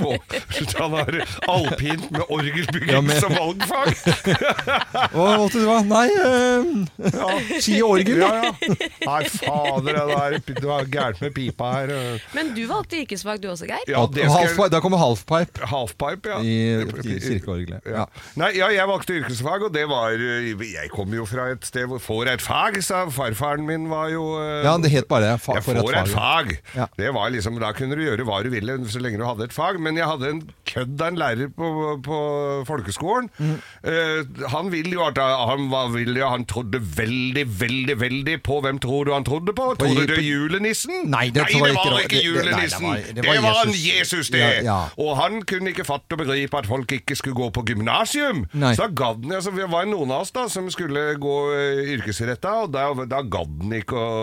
På, han har alpint med orgelbygging Ja, men- som valgfag! Hva måtte du ha? Nei, eh, *laughs* ski og orgel, da. *laughs* Ja, ja. Nei, fader, det er, det er gærent med pipa her. Men du valgte yrkesfag du også, Geir. Ja, det skal, Halfpipe- da kommer halfpipe halfpipe, ja. i, i kirkeorgelet. Ja. Nei, ja, jeg valgte yrkesfag, og det var eh, Jeg kom jo fra et sted hvor får et fag, sa farfaren min var jo eh, Ja, det het bare fa Jeg for et får et fag. fag! Ja. Det var liksom, Da kunne du gjøre hva du ville så lenge du hadde et fag. Men jeg hadde en kødd av en lærer på, på folkeskolen. Mm. Eh, han ville jo at han var villig, han trodde veldig, veldig, veldig på Hvem tror du han trodde på? Trodde du på- julenissen? Nei, det tror jeg ikke det var- var ikke det- det- nei, det julenissen! var- Det, det var, var en Jesus. Jesus, det! Ja, ja. Og han kunne ikke fatte og begripe at folk ikke skulle gå på gymnasium. Nei. Så da gadd han altså, Det var noen av oss da som skulle gå eh, yrkesretta, og da, da gadd han ikke å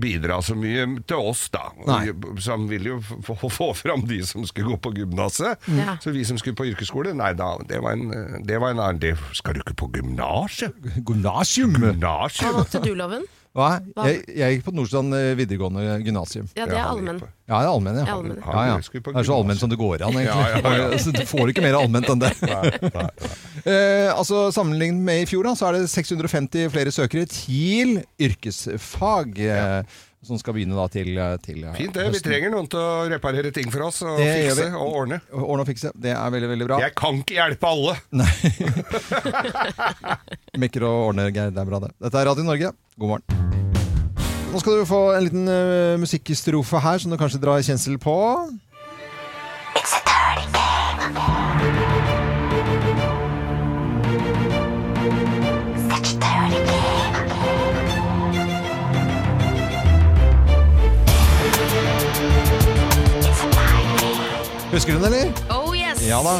bidra så mye til oss, da. Nei. Så han ville jo få, få fram de som skulle gå på gymnaset. Ja. Så vi som skulle på yrkesskole, nei da, det var en, eh, det var en annen Det skal du ikke på gymnaset? Gymnasium? Hva Gymnasium? valgte du, Loven? Hva? Jeg, jeg gikk på Nordstrand eh, videregående gymnasium. Ja, det er allmenn. Ja, det er allmenn, ja. Ja, allmenn. Ja, ja. Skulle på Det er så allmenn som det går an, egentlig. *laughs* Ja, ja, ja. Altså, Du får ikke mer allment enn det. *laughs* Eh, altså, Sammenlignet med i fjor da, så er det 650 flere søkere til yrkesfag, eh, som skal begynne da til, til eh, Fint det, vi høsten. trenger noen til å reparere ting for oss, og Det gjør fikse vi. og ordne. Ordne og fikse. Det er veldig, veldig bra. Jeg kan ikke hjelpe alle! Mekker og ordner, Geir. Det er bra, det. Dette er Radio Norge. God morgen. Nå skal du få en liten eh, musikkstrofe her som du kanskje drar kjensel på. Husker du den, eller? Oh yes! Ja da.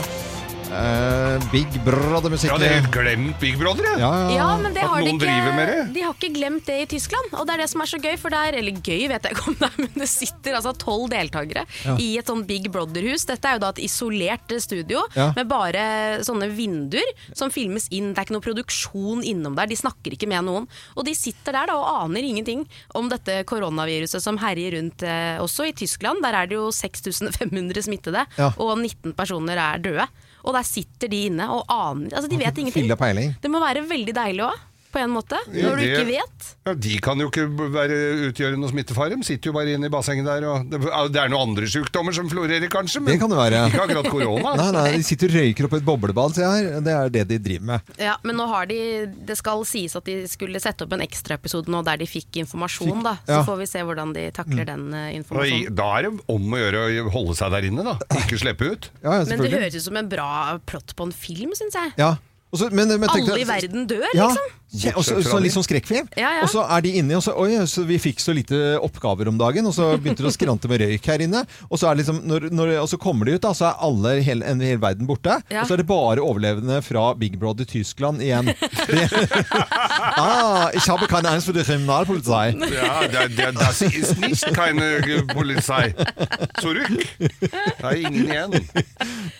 Eh, Big Brother-musikk. Ja, det er helt glemt Big Brother, jeg! ja, Ja, men det At har de noen ikke, driver med det? De har ikke glemt det i Tyskland, og det er det som er så gøy. For der, eller gøy vet jeg ikke om det er, *laughs* men det sitter altså tolv deltakere Ja. i et sånn Big Brother-hus. Dette er jo da et isolert eh, studio Ja. med bare sånne vinduer som filmes inn. Det er ikke noe produksjon innom der, de snakker ikke med noen. Og de sitter der da og aner ingenting om dette koronaviruset som herjer rundt eh, også i Tyskland. Der er det jo 6500 smittede, Ja. og 19 personer er døde. Og der sitter de inne og aner Altså, de vet ingenting. Fille peiling. Det må være veldig deilig òg, på en måte. Ja, Når du det- ikke vet. Ja, De kan jo ikke være, utgjøre noe smittefare. De sitter jo bare inne i bassenget der. Og det, det er noen andre sykdommer som florerer, kanskje, men Det kan det være. ikke akkurat korona. *laughs* Nei, nei, de sitter og røyker opp et boblebad, ser jeg her. Det er det de driver med. Ja, men nå har de Det skal sies at de skulle sette opp en ekstraepisode nå der de fikk informasjon, da. Så ja. får vi se hvordan de takler den eh, Oi, informasjonen. Da er det om å gjøre å holde seg der inne, da. Ikke slippe ut. Ja, ja, Men det selvfølgelig. høres ut som en bra plott på en film, syns jeg. Ja. Og så- men- men tenk Alle i deg- verden dør, Ja. liksom. Ja, og så, så litt sånn skrekkfilm. Ja, ja. Og så er de inni, og så Oi, så vi fikk så lite oppgaver om dagen, og så begynte det å skrante med røyk her inne. Og så, er det liksom, når, når, og så kommer de ut, da, så er alle hele, en hel verden borte. Ja. Og så er det bare overlevende fra Big Brother Tyskland *laughs* igjen. *laughs* Det, ah, ich habe keine Angst for die Kriminalpolizei. Ja, det, det, das ist nicht keine Polizei. Zurück. Det er ingen igjen.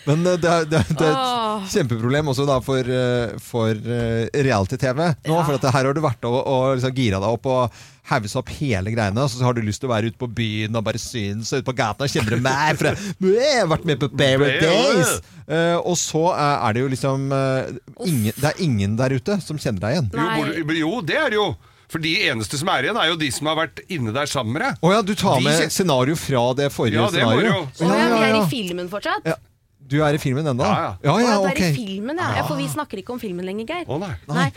Men eh, det er, det er, det er et Åh. kjempeproblem også da for, eh, for eh, reality-TV nå. For at her har du vært og, og liksom gira deg opp og hausa opp hele greiene. Og så har du lyst til å være ute på byen og bare synes og ute på gata og kjempe med meg. *laughs* For jeg, jeg har vært med på Paradise! Uh, og så eh, er det jo liksom eh, ingen, Det er ingen der ute som kjenner deg igjen. Jo, Nei. bor- jo, det er det jo. For de eneste som er igjen, er jo de som har vært inne der sammen med deg. Å ja, du tar De med kjen- scenario fra det forrige Ja, det må scenario? jo. Å ja, ja, vi er i ja. filmen fortsatt? Ja. Du er i filmen ennå? ja, Ja, Å ja, ja, du er i ok. filmen, ja. ja. For vi snakker ikke om filmen lenger, Geir. Å nei. Nei.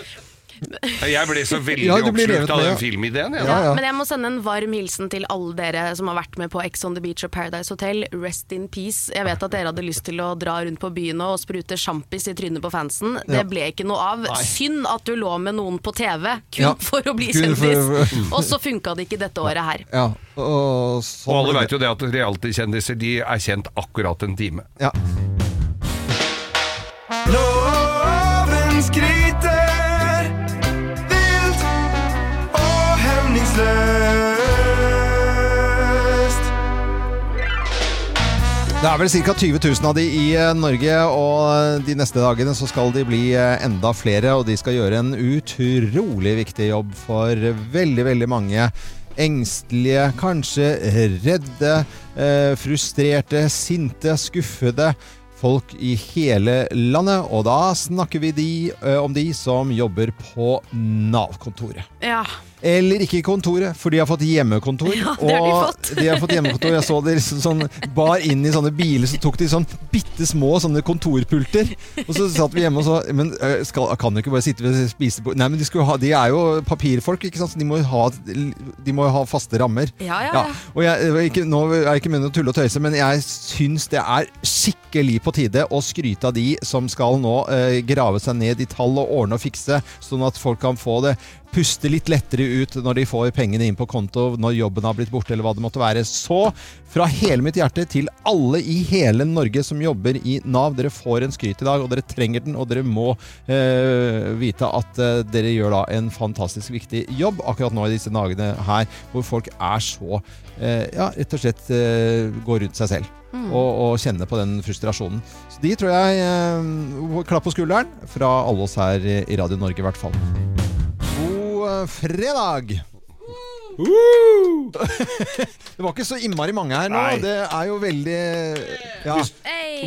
Jeg ble så veldig Ja, du blir revet oppslukt av med, den ja. filmideen. jeg. Ja, ja. Men jeg må sende en varm hilsen til alle dere som har vært med på Ex on the Beach og Paradise Hotel. Rest in peace. Jeg vet at dere hadde lyst til å dra rundt på byen og sprute sjampis i trynet på fansen. Ja. Det ble ikke noe av. Synd at du lå med noen på TV kun Ja. for å bli Kun for- kjendis. Og så funka det ikke dette året her. Ja, og Og sånn alle veit jo det at reality-kjendiser de er kjent akkurat en time. Ja. Loven skriter vilt og hemningsløst. Det er vel ca. 20 000 av de i eh, Norge, og eh, de neste dagene så skal de bli eh, enda flere, og de skal gjøre en utrolig viktig jobb for veldig, veldig mange engstelige, kanskje redde, eh, frustrerte, sinte, skuffede folk i hele landet. Og da snakker vi de, eh, om de som jobber på Nav-kontoret. Ja. Eller ikke i kontoret, for de har fått hjemmekontor. Ja, det har de og fått. de har fått hjemmekontor. Jeg så de liksom sånn bar inn i sånne biler, så tok de sånn bitte små sånne kontorpulter. Og så satt vi hjemme og så Men øh, skal, kan du ikke bare sitte ved spisebordet Nei, men de, skulle ha, de er jo papirfolk, ikke sant, så de må jo ha, de må jo ha faste rammer. Ja, ja, ja. Og jeg, øh, ikke, nå er jeg ikke munnen å tulle og tøyse, men jeg syns det er skikkelig på tide å skryte av de som skal nå øh, grave seg ned i tall og ordne og fikse, sånn at folk kan få det puste litt lettere ut når de får pengene inn på konto, når jobben har blitt borte, eller hva det måtte være. Så fra hele mitt hjerte til alle i hele Norge som jobber i Nav, dere får en skryt i dag, og dere trenger den, og dere må eh, vite at eh, dere gjør da en fantastisk viktig jobb akkurat nå i disse dagene her, hvor folk er så eh, ja, rett og slett eh, går rundt seg selv. Og, og kjenne på den frustrasjonen. Så de tror jeg eh, Klapp på skulderen fra alle oss her i Radio Norge, i hvert fall. God eh, fredag! *laughs* det var ikke så innmari mange her nå. Nei. Det er jo veldig ja.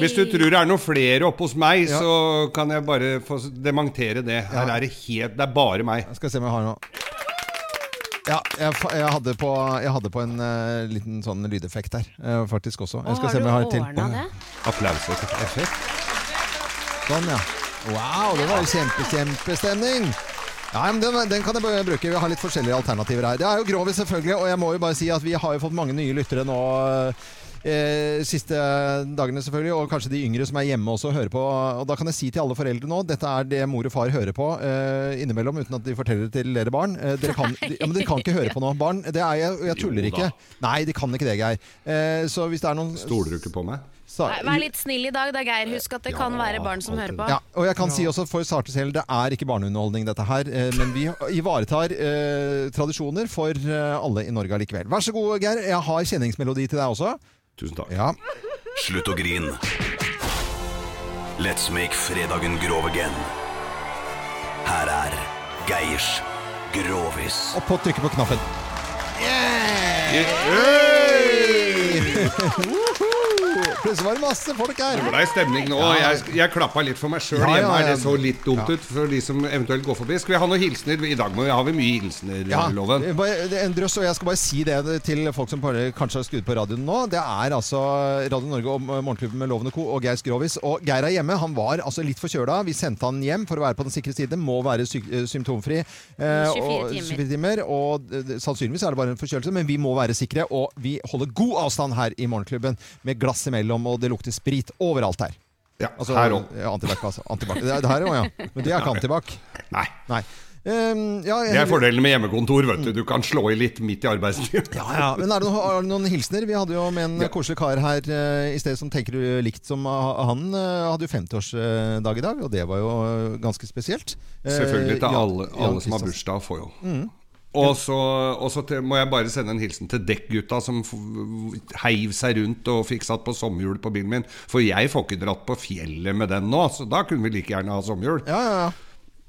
Hvis du tror det er noen flere oppe hos meg, så kan jeg bare få s- dementere det. Her Ja. er det helt Det er bare meg. Jeg skal se om jeg har noe. Ja, jeg, fa- jeg, hadde på, jeg hadde på en eh, liten sånn lydeffekt her, eh, faktisk også. Jeg skal se om jeg har til. Applaus. Effekt. Sånn, ja. Wow, det var jo kjempe, kjempestemning! Ja, men den, den kan jeg bare bruke. Vi har litt forskjellige alternativer her. Det er jo Grovis, selvfølgelig, og jeg må jo bare si at vi har jo fått mange nye lyttere nå. Eh, siste dagene selvfølgelig Og kanskje de yngre som er hjemme også hører på Og da kan jeg si til alle foreldre nå Dette er det mor og far hører på eh, Innimellom uten at de forteller det til dere barn eh, dere, kan, ja, men dere kan ikke høre på nå Barn, det er jeg, og jeg Jo da. tuller ikke Nei, de kan ikke det, Geir eh, Så hvis det er noen Stoler du ikke på meg? Sa- Nei, Vær litt snill i dag da, Geir. Husk at det kan være barn som hører på. ja, og jeg kan si også for starters del, det er ikke barneunderholdning dette her, eh, men vi ivaretar eh, tradisjoner for eh, alle i Norge allikevel. Vær så god, Geir. Jeg har kjenningsmelodi til deg også. Tusen takk. Ja. Slutt å grine. Let's make fredagen grov again. Her er Geirs Grovis. Og på trykke på knappen. Plutselig var det masse folk her. Det blei stemning nå. Ja. Jeg, jeg klappa litt for meg sjøl Ja, ja, hjemme. her. ja. Det så litt dumt Ja. ut for de som eventuelt går forbi. Skal vi ha noen hilsener? I dag må vi, har vi mye hilsener, Ja, Loven. bare- det er en drøss, og jeg skal bare si det til folk som bare kanskje har skrudd på radioen nå. Det er altså Radio Norge og Morgenklubben med Loven og Co. og Geir Skrovis. Og Geir er hjemme. Han var altså litt forkjøla. Vi sendte han hjem for å være på den sikre siden. Må være syk eh, symptomfri. Eh, 24 og, timer. 24 timer. Og eh, sannsynligvis er det bare en forkjølelse, men vi må være sikre. Og vi holder god avstand her i Morgenklubben, med glass imellom, og det lukter sprit overalt her. Ja, Altså, her òg. ja, Antibac, altså. Antibac. Det er det her òg, ja. Men det er ikke antibac. Nei. Nei. Ehm, ja, Det er fordelen med hjemmekontor. vet Du Du kan slå i litt midt i arbeidstiden. Ja, men er det, noen, er det noen hilsener? Vi hadde jo med en koselig kar her eh, i sted som tenker du likt som ah, han. eh, hadde jo 50-årsdag i dag, og det var jo eh, ganske spesielt. Eh, Selvfølgelig til Jan- alle, Jan alle som har Kristiansen. bursdag, får jo. Mm. Og så, og så til, må jeg bare sende en hilsen til dekkgutta som f- heiv seg rundt og fikk satt på sommerhjul på bilen min. For jeg får ikke dratt på fjellet med den nå, så da kunne vi like gjerne ha sommerhjul. Ja, ja, ja.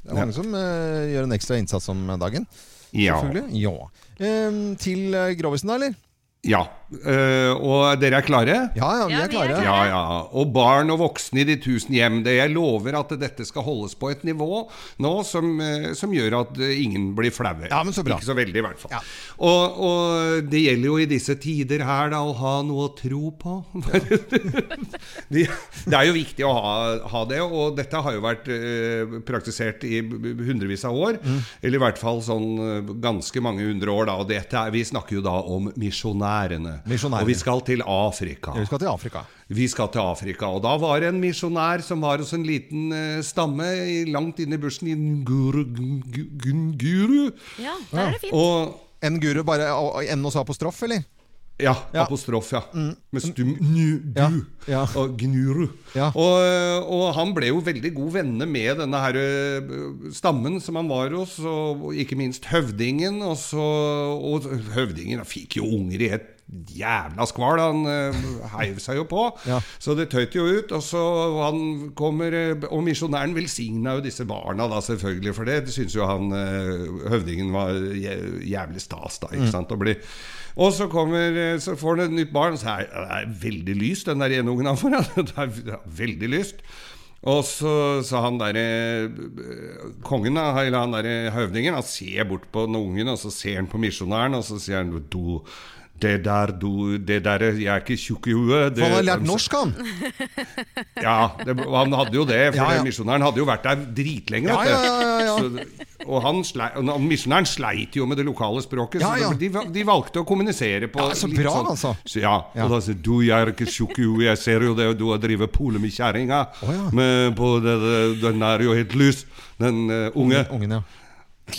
Det er mange som eh, gjør en ekstra innsats om dagen. Ja. Selvfølgelig. Ja. Ehm, til eh, Grovisen, da, eller? Ja. Eh, og dere er klare? Ja, ja, vi Ja, er vi er klare. klare. Ja, ja. Og barn og voksne i de tusen hjem. Det jeg lover at dette skal holdes på et nivå nå som, eh, som gjør at eh, ingen blir flaue. Ja, men så bra. Ikke så veldig, i hvert fall. Og, og det gjelder jo i disse tider her da å ha noe å tro på. *laughs* De- det er jo viktig å ha, ha det, og dette har jo vært eh, praktisert i b- b- hundrevis av år. Eller i hvert fall sånn eh, ganske mange hundre år, da. Og dette er, vi snakker jo da om misjonærene. Misjonærene. Og vi skal til Afrika. Vi skal til Afrika. Vi skal til Afrika, og da var det en misjonær som var hos en liten eh, stamme i- langt inne i bushen, i Nguru, Gu- Gu- Nguru. Ja, der er det fint. Og, En guru bare N og så apostrof, eller? ja, apostrof, ja. Med stum nu, Mm. Ja, du og gnuru. Og, eh, og han ble jo veldig gode venner med denne her ø, stammen som han var hos, og ikke minst høvdingen. Og, så, og høvdingen han fikk jo unger i et jævla skval, han ø, heiv seg jo på. Så det tøyt jo ut. Og så han kommer, ø, og misjonæren velsigna jo disse barna, da selvfølgelig, for det syns jo han ø, høvdingen var jæ- jævlig stas, da. ikke Mm. sant? sant, å bli. Og så, kommer, eh, så får han et nytt barn, og så er det er veldig lyst, den der ene ungen han får. *laughs* Det er det er veldig lyst. Og så sa han derre kongen, da, eller han derre høvdingen, han ser bort på den ungen, og så ser han på misjonæren, og så sier han du, det der, du, det der, jeg er ikke tjukk i huet. det- For han har lært norsk, han! *laughs* ja, det, og han hadde jo det, for Ja, ja. det misjonæren hadde jo vært der dritlenge. Ja, vet du. ja, ja, ja, ja. Så, og han slei- og han- misjonæren sleit jo med det lokale språket, Ja, ja. så det- de, val- de valgte å kommunisere på Ja, så litt bra, sånn, altså. Så, ja, Ja. og da sier du, jeg er ikke tjukk i huet, jeg ser jo det, og du har drevet pole med kjerringa, men på det, det, den er jo helt lys, den eh, unge. Ungen, ja.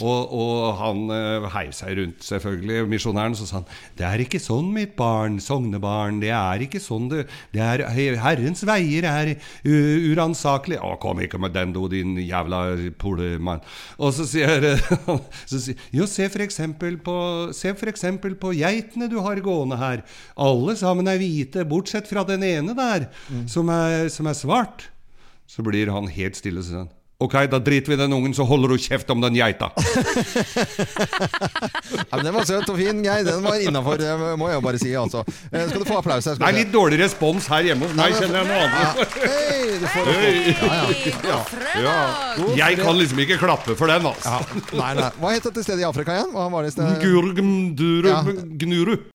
Og, og han eh, heiv seg rundt, selvfølgelig, misjonæren, så sa han Det er ikke sånn, mitt barn, sognebarn, det er ikke sånn det, det er Herrens veier er u- uransakelige Å, kom ikke med den, du, din jævla polemann. Og så sier *laughs* eh, han så sier, Jo, se for eksempel på Se for eksempel på geitene du har gående her. Alle sammen er hvite, bortsett fra den ene der, som, er, som er svart. Så blir han helt stille, så sier han Ok, da driter vi i den ungen, så holder du kjeft om den geita. Ja, men den var søt og fin, Geir. Den var innafor, det må jeg jo bare si. Altså. Eh, Skal du få applaus her? Det er litt dårlig respons her hjemme hos Nei, meg, men- kjenner jeg nå. Ja. Hei, du får Hei! Ja, ja. Ja. God Jeg fredag. kan liksom ikke klappe for den, altså. Nei, nei. Hva het dette stedet i Afrika igjen? Hva var det stedet? Gurgmduru, Ja. Gnuru.